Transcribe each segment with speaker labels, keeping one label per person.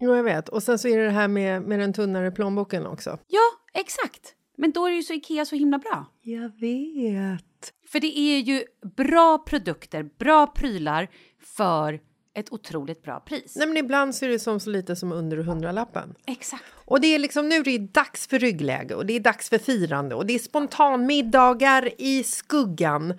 Speaker 1: Jo, jag vet. Och sen så är det det här med, med den tunnare plånboken också.
Speaker 2: Ja, exakt. Men då är ju så Ikea så himla bra.
Speaker 1: Jag vet.
Speaker 2: För det är ju bra produkter, bra prylar för ett otroligt bra pris.
Speaker 1: Nej, men ibland så är det som så lite som under hundralappen.
Speaker 2: Exakt.
Speaker 1: Och det är liksom nu är det är dags för ryggläge och det är dags för firande och det är spontanmiddagar i skuggan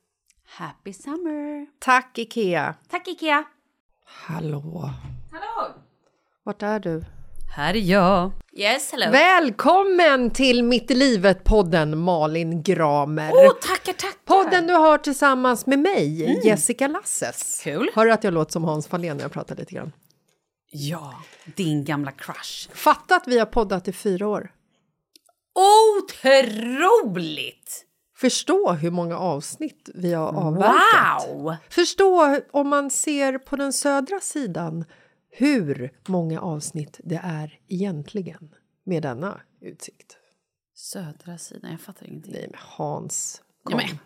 Speaker 2: Happy summer!
Speaker 1: Tack, Ikea.
Speaker 2: Tack Ikea!
Speaker 1: Hallå. Hallå! Vart är du?
Speaker 2: Här är jag. Yes, hello.
Speaker 1: Välkommen till Mitt i livet-podden, Malin Gramer.
Speaker 2: Åh, tackar, tackar!
Speaker 1: Podden du har tillsammans med mig, Jessica Lasses.
Speaker 2: Kul.
Speaker 1: Hör du att jag låter som Hans Fahlén när jag pratar lite grann?
Speaker 2: Ja, din gamla crush.
Speaker 1: Fatta att vi har poddat i fyra år.
Speaker 2: Otroligt!
Speaker 1: Förstå hur många avsnitt vi har avverkat.
Speaker 2: Wow!
Speaker 1: Förstå om man ser på den södra sidan hur många avsnitt det är egentligen med denna utsikt.
Speaker 2: Södra sidan, jag fattar ingenting.
Speaker 1: Nej, men Hans
Speaker 2: Ja,
Speaker 1: kom.
Speaker 2: men-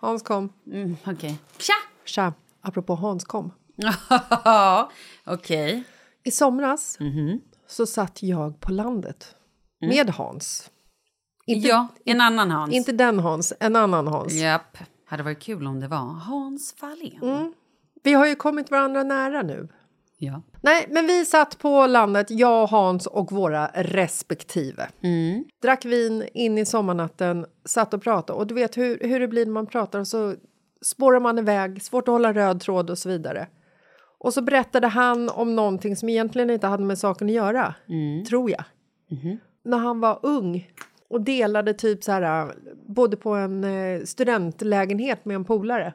Speaker 1: Hans kom.
Speaker 2: Mm, Okej. Tja!
Speaker 1: Tja, apropå Hans kom.
Speaker 2: Okej.
Speaker 1: I somras så satt jag på landet med Hans. Inte,
Speaker 2: Ja, en annan Hans.
Speaker 1: inte den Hans, en annan Hans.
Speaker 2: Japp. Hade varit kul om det var Hans Fahlén.
Speaker 1: Vi har ju kommit varandra nära nu.
Speaker 2: Ja.
Speaker 1: Nej, men vi satt på landet, jag, Hans och våra respektive. Drack vin in i sommarnatten, satt och pratade. Och du vet hur, hur det blir när man pratar och så spårar man iväg, svårt att hålla röd tråd och så vidare. Och så berättade han om någonting som egentligen inte hade med saken att göra, tror jag. När han var ung och delade typ så här, både på en eh, studentlägenhet med en polare.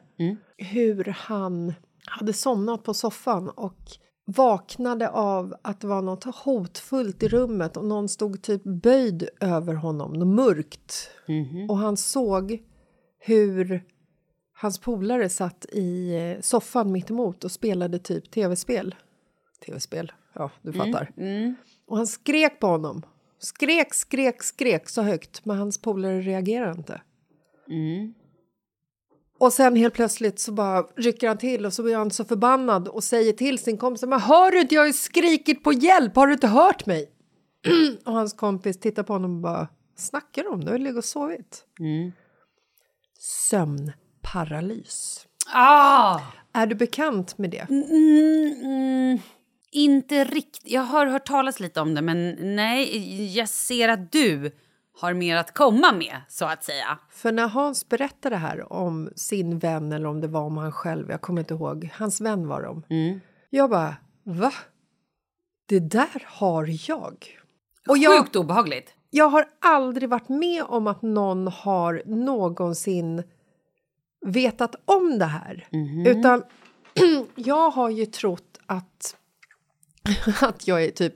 Speaker 1: Hur han hade somnat på soffan och vaknade av att det var något hotfullt i rummet och någon stod typ böjd över honom, något mörkt. Och han såg hur hans polare satt i eh, soffan mitt emot och spelade typ tv-spel. Tv-spel, ja, du fattar. Och han skrek på honom. Skrek, skrek, skrek så högt, men hans polare reagerade inte. Och sen helt plötsligt så bara rycker han till och så blir han så förbannad och säger till sin kompis Men hör du inte, jag har ju skrikit på hjälp, har du inte hört mig? och hans kompis tittar på honom och bara Snackar du om? Du har ju legat och sovit. Sömnparalys.
Speaker 2: Ah!
Speaker 1: Är du bekant med det?
Speaker 2: Mm, mm, inte riktigt. Jag har hört talas lite om det, men nej. Jag ser att du har mer att komma med, så att säga.
Speaker 1: För när Hans berättade här om sin vän eller om det var om han själv, jag kommer inte ihåg, hans vän var de. Jag bara, va? Det där har jag. Och jag,
Speaker 2: Sjukt obehagligt.
Speaker 1: jag har aldrig varit med om att någon har någonsin vetat om det här. Utan jag har ju trott att, att jag är typ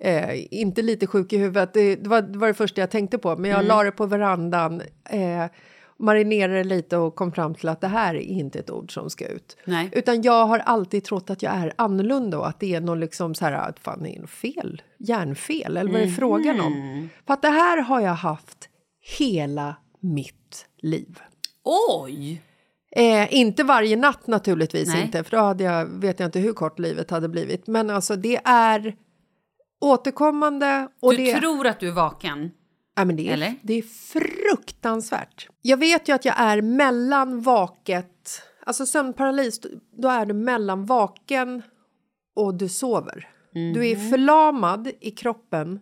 Speaker 1: eh, inte lite sjuk i huvudet. Det, det, var, det var det första jag tänkte på, men jag la det på verandan. Eh, marinerade lite och kom fram till att det här är inte ett ord som ska ut.
Speaker 2: Nej.
Speaker 1: Utan jag har alltid trott att jag är annorlunda och att det är någon liksom så här, att fan det är något fel, hjärnfel eller vad är det frågan om? För att det här har jag haft hela mitt liv.
Speaker 2: Oj!
Speaker 1: Eh, inte varje natt naturligtvis
Speaker 2: Nej.
Speaker 1: inte, för då hade jag, vet jag inte hur kort livet hade blivit. Men alltså det är återkommande och
Speaker 2: Du
Speaker 1: det...
Speaker 2: tror att du är vaken.
Speaker 1: Ja, men det, är,
Speaker 2: Eller?
Speaker 1: det är fruktansvärt. Jag vet ju att jag är mellan vaket... Alltså sömnparalys, då- då är du mellan vaken och du sover. Du
Speaker 2: Mhm.
Speaker 1: är förlamad i kroppen,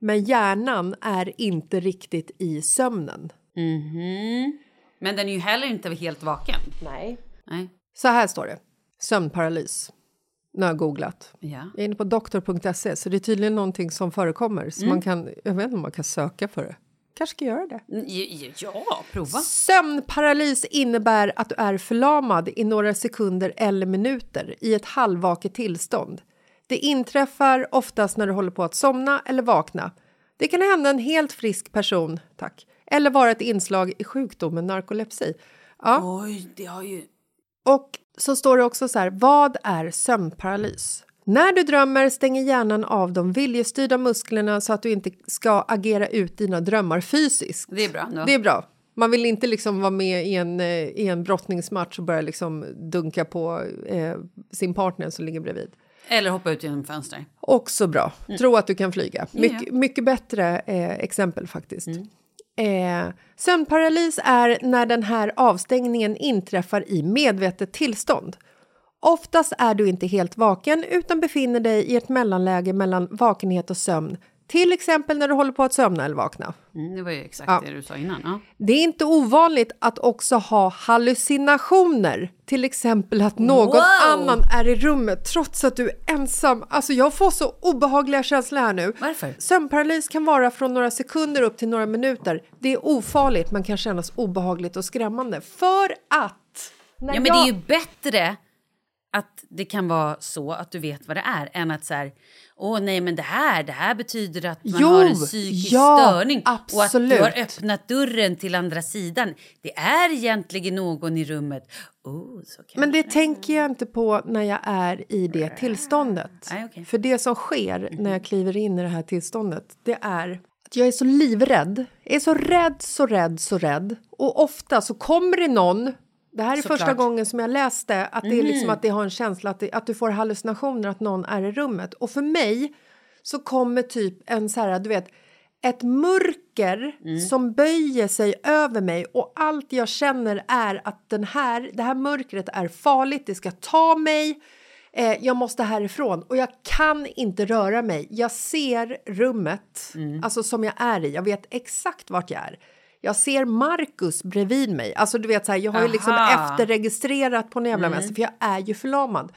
Speaker 1: men hjärnan är inte riktigt i sömnen.
Speaker 2: Men den är ju heller inte helt vaken.
Speaker 1: Nej.
Speaker 2: Nej.
Speaker 1: Så här står det. Sömnparalys. Nu har jag googlat.
Speaker 2: Ja.
Speaker 1: Jag är inne på doktor.se, så det är tydligen någonting som förekommer. Så man kan, jag vet inte om man kan söka för det. Mm. kanske ska göra det.
Speaker 2: Mm, j- Ja, prova.
Speaker 1: Sömnparalys innebär att du är förlamad i några sekunder eller minuter i ett halvvaket tillstånd. Det inträffar oftast när du håller på att somna eller vakna. Det kan hända en helt frisk person, tack, eller vara ett inslag i sjukdomen narkolepsi. Ja.
Speaker 2: Oj, det har ju...
Speaker 1: Och så står det också så här, vad är sömnparalys? När du drömmer stänger hjärnan av de viljestyrda musklerna så att du inte ska agera ut dina drömmar fysiskt.
Speaker 2: Det är bra ändå.
Speaker 1: Det är bra. Man vill inte liksom vara med i en, eh, i en brottningsmatch och börja liksom dunka på eh, sin partner som ligger bredvid.
Speaker 2: Eller hoppa ut genom fönster.
Speaker 1: Också bra. Tro att du kan flyga. Mycket, mycket bättre eh, exempel faktiskt. Eh, sömnparalys är när den här avstängningen inträffar i medvetet tillstånd. Oftast är du inte helt vaken utan befinner dig i ett mellanläge mellan vakenhet och sömn. Till exempel när du håller på att sömna eller vakna.
Speaker 2: Mm, det var ju exakt det du sa innan. Ja.
Speaker 1: Det är inte ovanligt att också ha hallucinationer. Till exempel att någon
Speaker 2: Wow!
Speaker 1: annan är i rummet trots att du är ensam. Alltså jag får så obehagliga känslor här nu.
Speaker 2: Varför?
Speaker 1: Sömnparalys kan vara från några sekunder upp till några minuter. Det är ofarligt men kan kännas obehagligt och skrämmande. För att... när
Speaker 2: ja, men
Speaker 1: jag-
Speaker 2: det är ju bättre att det kan vara så att du vet vad det är än att så här, åh nej men det här, det här betyder att man
Speaker 1: Jo,
Speaker 2: har en psykisk
Speaker 1: ja,
Speaker 2: störning och att du har
Speaker 1: absolut.
Speaker 2: öppnat dörren till andra sidan. Det är egentligen någon i rummet. Oh, så kan
Speaker 1: Men det tänker jag inte på när jag är i det tillståndet.
Speaker 2: Nej, okej.
Speaker 1: Mm. För det som sker när jag kliver in i det här tillståndet, det är att jag är så livrädd. Jag är så rädd, så rädd, så rädd. Och ofta så kommer det någon det här är
Speaker 2: Såklart.
Speaker 1: första gången som jag läste att det är liksom att det har en känsla att, det, att du får hallucinationer att någon är i rummet. Och för mig så kommer typ en så här, du vet, ett mörker som böjer sig över mig och allt jag känner är att den här, det här mörkret är farligt, det ska ta mig. Eh, jag måste härifrån och jag kan inte röra mig. Jag ser rummet, alltså som jag är i. Jag vet exakt vart jag är. Jag ser Marcus bredvid mig. Alltså du vet så här, jag har ju liksom
Speaker 2: Aha.
Speaker 1: efterregistrerat på en jävla vänster för jag är ju förlamad.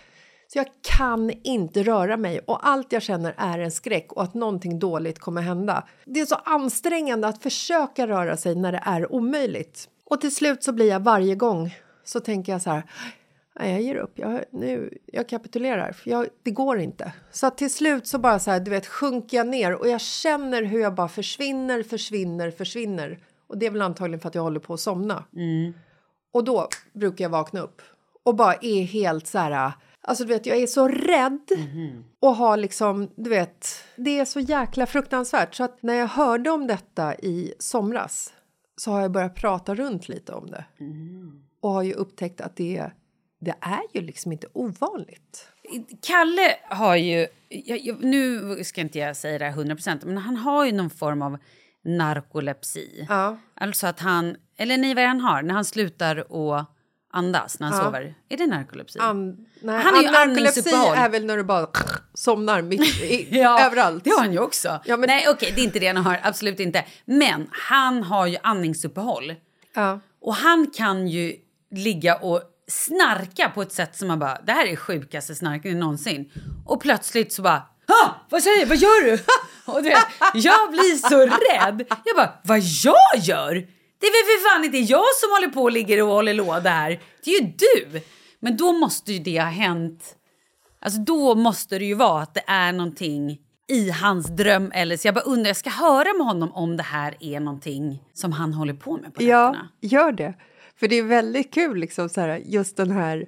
Speaker 1: Så jag kan inte röra mig och allt jag känner är en skräck och att någonting dåligt kommer hända. Det är så ansträngande att försöka röra sig när det är omöjligt. Och till slut så blir jag varje gång så tänker jag så här. Nej, jag ger upp. Jag, nu, jag kapitulerar. För jag, det går inte. Så att till slut så bara så här, du vet, sjunker jag ner och jag känner hur jag bara försvinner, försvinner, försvinner. Och det är väl antagligen för att jag håller på att somna. Och då brukar jag vakna upp och bara är helt så här... Alltså du vet, jag är så rädd
Speaker 2: Mhm.
Speaker 1: och har liksom, du vet, det är så jäkla fruktansvärt. Så att när jag hörde om detta i somras så har jag börjat prata runt lite om det.
Speaker 2: Mm.
Speaker 1: Och har ju upptäckt att det, det är ju liksom inte ovanligt.
Speaker 2: Kalle har ju... Jag, jag, nu ska inte jag säga det här 100 men han har ju någon form av narkolepsi.
Speaker 1: Ja.
Speaker 2: Alltså att han... Eller nej, vad är det han har? När han slutar att andas när han sover. Är det narkolepsi?
Speaker 1: An, nej,
Speaker 2: Han är ju
Speaker 1: narkolepsi
Speaker 2: andningsuppehåll.
Speaker 1: är väl när du bara somnar mitt i,
Speaker 2: Ja,
Speaker 1: överallt.
Speaker 2: Det har han ju också.
Speaker 1: Ja, men-
Speaker 2: Nej, okej, det är inte det han har. Absolut inte. Men han har ju andningsuppehåll.
Speaker 1: Ja.
Speaker 2: Och han kan ju ligga och snarka på ett sätt som man bara, det här är sjukaste snarkningen någonsin. Och plötsligt så bara, ha! Vad säger Vad gör du? Ha! Och du vet, jag blir så rädd. Jag bara, vad jag gör? Det är väl för fan inte jag som håller på och ligger och håller låda här. Det är ju du. Men då måste ju det ha hänt. Alltså då måste det ju vara att det är någonting i hans dröm eller så jag bara undrar, jag ska höra med honom om det här är någonting som han håller på med på
Speaker 1: Ja,
Speaker 2: nätterna.
Speaker 1: gör det. För det är väldigt kul, liksom, så här, just den här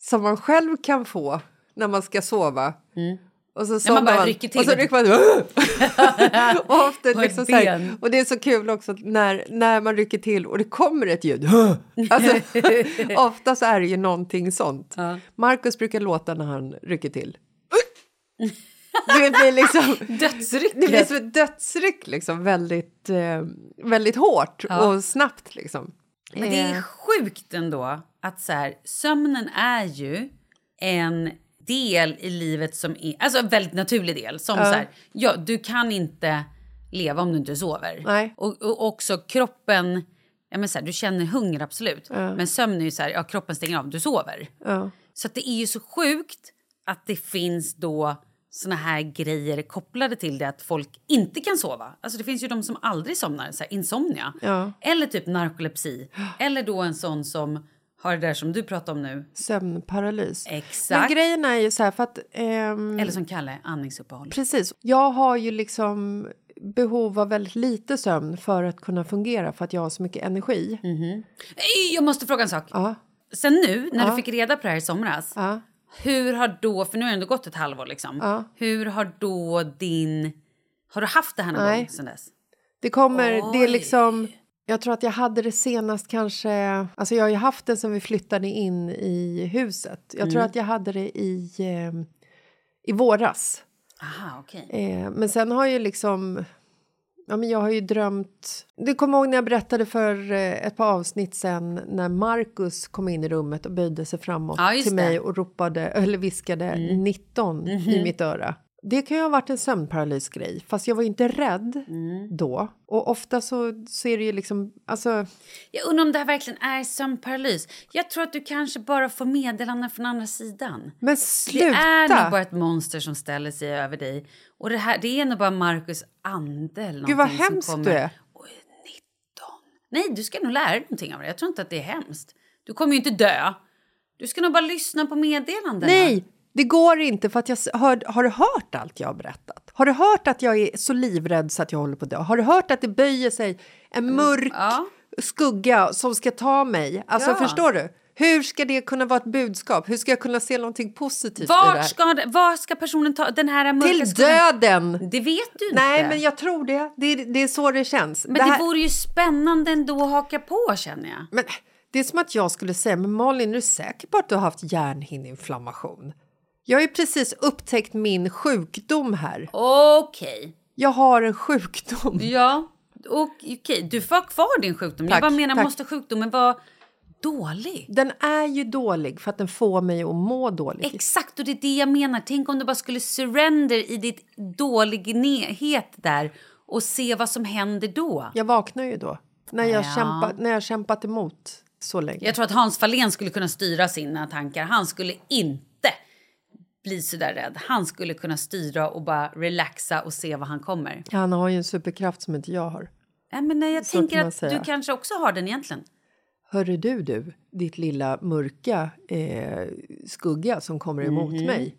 Speaker 1: som man själv kan få när man ska sova. Och så somnar
Speaker 2: Mm. bara rycker till.
Speaker 1: Och så rycker man... och, ofta,
Speaker 2: På ett
Speaker 1: liksom, så här,
Speaker 2: ben.
Speaker 1: och det är så kul också när, när man rycker till och det kommer ett ljud. alltså, ofta så är det ju någonting sånt. Markus brukar låta när han rycker till. Det blir liksom...
Speaker 2: Dödsrycket.
Speaker 1: Det blir som ett dödsryck, liksom, väldigt, eh, väldigt hårt och snabbt. Liksom.
Speaker 2: Men det är sjukt ändå att så här, sömnen är ju en del i livet som är, alltså en väldigt naturlig del. Som så här, ja, du kan inte leva om du inte sover.
Speaker 1: Nej.
Speaker 2: Och, och också kroppen, ja, men så här, du känner hunger absolut. Men sömn är ju så här, ja, kroppen stänger av, du sover. Så att det är ju så sjukt att det finns då såna här grejer kopplade till det att folk inte kan sova. Alltså det finns ju de som aldrig somnar, så här insomnia. Eller typ narkolepsi. Eller då en sån som har det där som du pratar om
Speaker 1: Mm.
Speaker 2: nu.
Speaker 1: Sömnparalys. Men
Speaker 2: Exakt.
Speaker 1: grejen är ju så här, för att... ehm,
Speaker 2: Eller som Kalle, andningsuppehåll.
Speaker 1: precis. Jag har ju liksom behov av väldigt lite sömn för att kunna fungera, för att jag har så mycket energi.
Speaker 2: Mm. Ey, Jag måste fråga en sak.
Speaker 1: Ja.
Speaker 2: Sen nu, när du fick reda på det här i somras.
Speaker 1: Ja.
Speaker 2: Hur har då, för nu har det ändå gått ett halvår liksom. Hur har då din... Har du haft det här någon
Speaker 1: Nej.
Speaker 2: gång sen dess?
Speaker 1: Det kommer, det är
Speaker 2: Oj.
Speaker 1: liksom... Jag tror att jag hade det senast kanske... Alltså jag har ju haft det sen vi flyttade in i huset. Jag tror
Speaker 2: Mm.
Speaker 1: att jag hade det i, ehm, i våras.
Speaker 2: Aha, okej.
Speaker 1: Eh, men sen har ju liksom... Ja, men jag har ju drömt... Du kommer ihåg när jag berättade för eh, ett par avsnitt sen när Markus kom in i rummet och böjde sig framåt
Speaker 2: Ja, just
Speaker 1: till mig
Speaker 2: det. Mm. Mhm.
Speaker 1: och ropade, eller viskade 19 i mitt öra. Det kan ju ha varit en sömnparalysgrej, fast jag var ju inte rädd
Speaker 2: Mm.
Speaker 1: då. Och ofta så, så är det ju liksom... Alltså,
Speaker 2: Jag undrar om det här verkligen är sömnparalys. Jag tror att du kanske bara får meddelanden från andra sidan.
Speaker 1: men
Speaker 2: Det
Speaker 1: sluta!
Speaker 2: är nog bara ett monster som ställer sig över dig. Och det, här, det är nog bara Marcus ande eller
Speaker 1: Gud, vad
Speaker 2: någonting som
Speaker 1: hemskt
Speaker 2: kommer.
Speaker 1: du är.
Speaker 2: Oj, 19. Nej, du ska nog lära dig någonting av det. Jag tror inte att det är hemskt. Du kommer ju inte dö. Du ska nog bara lyssna på meddelandena.
Speaker 1: Nej, typ, det går inte. För att jag s- hör, har du hört allt jag har berättat? Har du hört att jag är så livrädd så att jag håller på att dö? Har du hört att det böjer sig en mörk
Speaker 2: Mm, ja.
Speaker 1: skugga som ska ta mig? Alltså,
Speaker 2: Ja.
Speaker 1: förstår du? Hur ska det kunna vara ett budskap? Hur ska jag kunna se någonting positivt i det
Speaker 2: Vart
Speaker 1: här?
Speaker 2: ska, vart ska personen ta den här mörka
Speaker 1: Till
Speaker 2: skogen?
Speaker 1: döden!
Speaker 2: Det vet du inte.
Speaker 1: Nej, men jag tror det. Det är, det är så det känns.
Speaker 2: Men det, vore ju spännande ändå att haka på känner jag.
Speaker 1: men det är som att jag skulle säga, men Malin, är du säker på att du har haft hjärnhinneinflammation? Jag har ju precis upptäckt min sjukdom här.
Speaker 2: Okej.
Speaker 1: Jag har en sjukdom.
Speaker 2: Ja, och okej, du får ha kvar din sjukdom.
Speaker 1: Tack,
Speaker 2: jag bara menar,
Speaker 1: tack.
Speaker 2: måste sjukdomen vara dålig?
Speaker 1: Den är ju dålig för att den får mig att må dåligt.
Speaker 2: Exakt, och det är det jag menar. Tänk om du bara skulle surrender i ditt dålighet där och se vad som händer då.
Speaker 1: Jag vaknar ju då, när jag,
Speaker 2: Ja.
Speaker 1: kämpat, när jag kämpat emot så länge.
Speaker 2: Jag tror att Hans Fahlén skulle kunna styra sina tankar. Han skulle inte bli så där rädd. Han skulle kunna styra och bara relaxa och se vad han kommer.
Speaker 1: Han har ju en superkraft som inte jag har.
Speaker 2: Nej, men nej, jag
Speaker 1: kan
Speaker 2: tänker
Speaker 1: man
Speaker 2: att
Speaker 1: säga.
Speaker 2: du kanske också har den egentligen.
Speaker 1: Hörru du, du, ditt lilla mörka eh, skugga som kommer emot mig.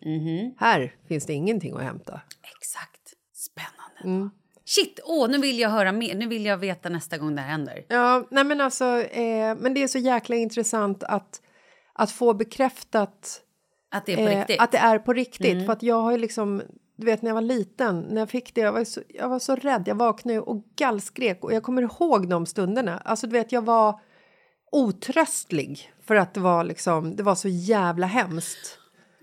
Speaker 1: Här finns det ingenting att hämta.
Speaker 2: Exakt. Spännande.
Speaker 1: Mm.
Speaker 2: ändå. Shit, åh, nu vill jag höra mer. Nu vill jag veta nästa gång det här händer.
Speaker 1: Ja, nej men alltså, eh, men det är så jäkla intressant att, att få bekräftat
Speaker 2: Att det är på
Speaker 1: eh,
Speaker 2: riktigt. Mm.
Speaker 1: att det är på riktigt. För att jag har ju liksom, du vet när jag var liten, när jag fick det, jag var, ju så, jag var så rädd. Jag vaknade ju och gallskrek och jag kommer ihåg de stunderna. Alltså du vet, jag var otröstlig för att det var liksom, det var så jävla hemskt.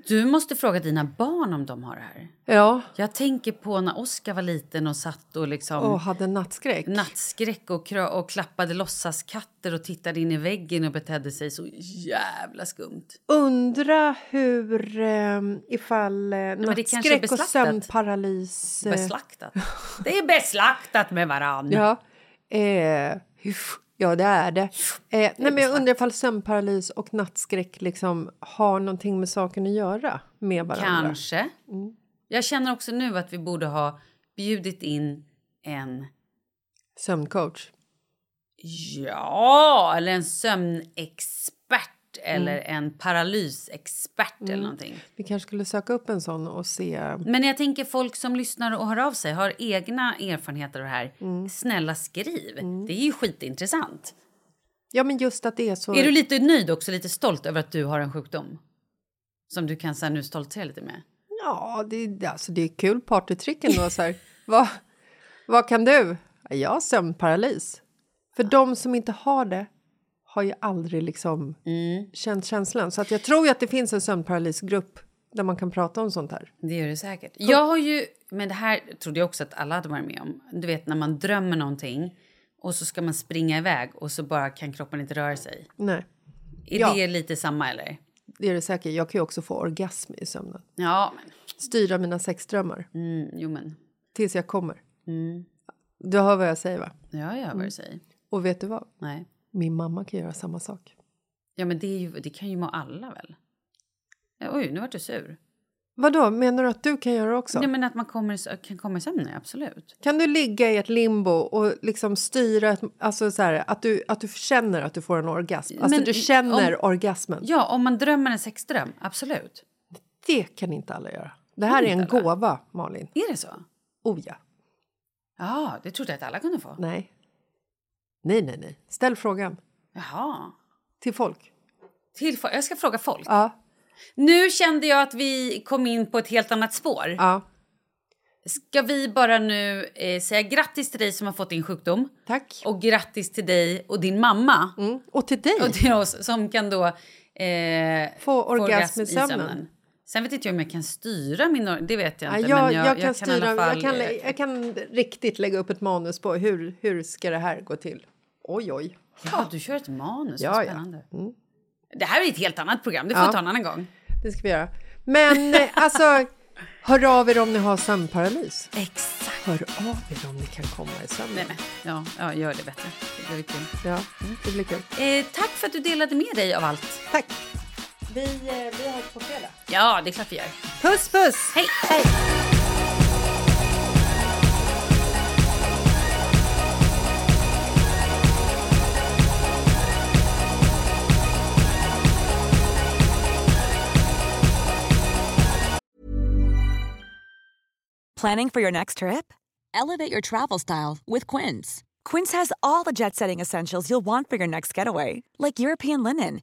Speaker 2: Du måste fråga dina barn om de har det här.
Speaker 1: Ja,
Speaker 2: Jag tänker på när Oskar var liten och satt och liksom...
Speaker 1: och hade nattskräck.
Speaker 2: nattskräck och, krö- och klappade låtsaskatter och tittade in i väggen och betedde sig så jävla skumt.
Speaker 1: Undra hur, eh, ifall eh,
Speaker 2: är
Speaker 1: nattskräck och
Speaker 2: beslaktat.
Speaker 1: sömnparalys... eh,
Speaker 2: Beslaktat. Det är beslaktat med varann.
Speaker 1: Ja. Eh, hyff. ja, det är det. Eh, nej, men jag undrar ifall sömnparalys och nattskräck liksom har någonting med saken att göra med varandra.
Speaker 2: Kanske.
Speaker 1: Mm.
Speaker 2: Jag känner också nu att vi borde ha bjudit in en
Speaker 1: Sömncoach.
Speaker 2: ja, eller en sömnexpert eller en paralysexpert eller någonting.
Speaker 1: Vi kanske skulle söka upp en sån och se.
Speaker 2: Men jag tänker folk som lyssnar och hör av sig har egna erfarenheter av det här. Snälla skriv. Det är ju skitintressant.
Speaker 1: Ja, men just att det är så.
Speaker 2: Är du lite nöjd också, lite stolt över att du har en sjukdom? Som du kan så här, nu stoltsera lite med?
Speaker 1: Ja, det, det- alltså, det är kul partytrick ändå. så här. vad, vad kan du? Jag har sömnparalys. För de som inte har det har ju aldrig liksom
Speaker 2: Mm.
Speaker 1: känt känslan. Så att jag tror ju att det finns en sömnparalysgrupp där man kan prata om sånt här.
Speaker 2: Det gör du säkert. Jag har ju, men det här trodde jag också att alla hade varit med om. Du vet när man drömmer någonting och så ska man springa iväg och så bara kan kroppen inte röra sig.
Speaker 1: Nej.
Speaker 2: Är
Speaker 1: Ja.
Speaker 2: det lite samma eller?
Speaker 1: Det är det säkert. Jag kan ju också få orgasm i sömnen.
Speaker 2: Ja, men,
Speaker 1: Styra mina sexdrömmar
Speaker 2: mm, jo men.
Speaker 1: tills jag kommer. Du hör vad jag säger, va?
Speaker 2: Ja, jag hör
Speaker 1: Mm.
Speaker 2: vad du säger.
Speaker 1: Och vet du vad?
Speaker 2: Nej.
Speaker 1: Min mamma kan göra samma sak.
Speaker 2: Ja, men det, är ju, det kan ju må alla väl? Ja, Oj, nu vart du sur.
Speaker 1: Vadå, menar du att du kan göra det också?
Speaker 2: Ja, men att man kommer, i sö- kan komma i sömnen, absolut.
Speaker 1: Kan du ligga i ett limbo och liksom styra... Ett, alltså så här, att, du, att du känner att du får en orgasm. Alltså
Speaker 2: Men
Speaker 1: du känner
Speaker 2: om-
Speaker 1: orgasmen.
Speaker 2: Ja, om man drömmer en sexdröm, absolut.
Speaker 1: Det kan inte alla göra. Det här är en gåva, Malin.
Speaker 2: Är det så?
Speaker 1: Oh ja.
Speaker 2: Ja, det trodde jag att alla kunde få.
Speaker 1: Nej. Nej, nej, nej. Ställ frågan
Speaker 2: Jaha.
Speaker 1: till folk.
Speaker 2: Till, fo- jag ska fråga folk.
Speaker 1: Ja.
Speaker 2: Nu kände jag att vi kom in på ett helt annat spår.
Speaker 1: ja.
Speaker 2: Ska vi bara nu eh, säga grattis till dig som har fått din sjukdom
Speaker 1: Tack.
Speaker 2: och grattis till dig och din mamma
Speaker 1: Mm. Och till dig.
Speaker 2: och till oss som kan då eh,
Speaker 1: Få orgasm i sömnen.
Speaker 2: Sen vet inte jag om jag kan styra min... or- Det vet jag
Speaker 1: Ja,
Speaker 2: inte.
Speaker 1: jag,
Speaker 2: men
Speaker 1: jag, kan
Speaker 2: i
Speaker 1: styra,
Speaker 2: alla fall,
Speaker 1: jag, kan,
Speaker 2: eh,
Speaker 1: jag kan riktigt lägga upp ett manus på hur, hur ska det här gå till. Oj, oj.
Speaker 2: Ja, du kör ett manus.
Speaker 1: Ja,
Speaker 2: Vad
Speaker 1: ja.
Speaker 2: spännande. Det här är ett helt annat program. Det får
Speaker 1: Ja.
Speaker 2: vi ta en annan gång.
Speaker 1: Det ska vi göra. Men eh, alltså, hör av er om ni har sömnparalys.
Speaker 2: Exakt.
Speaker 1: Hör av er om ni kan komma i
Speaker 2: Nej,
Speaker 1: sömnen.
Speaker 2: men, ja, ja, gör det bättre. Det blir kul.
Speaker 1: Ja, det blir kul.
Speaker 2: Eh, tack för att du delade med dig av allt.
Speaker 1: Tack. Vi, eh, vi hörs på fredag.
Speaker 2: Ja, det är klart vi gör.
Speaker 1: Puss, puss!
Speaker 2: Hej! Hej.
Speaker 3: Planning for your next trip? Elevate your travel style with Quince. Quince has all the jet setting essentials you'll want for your next getaway, like European linen,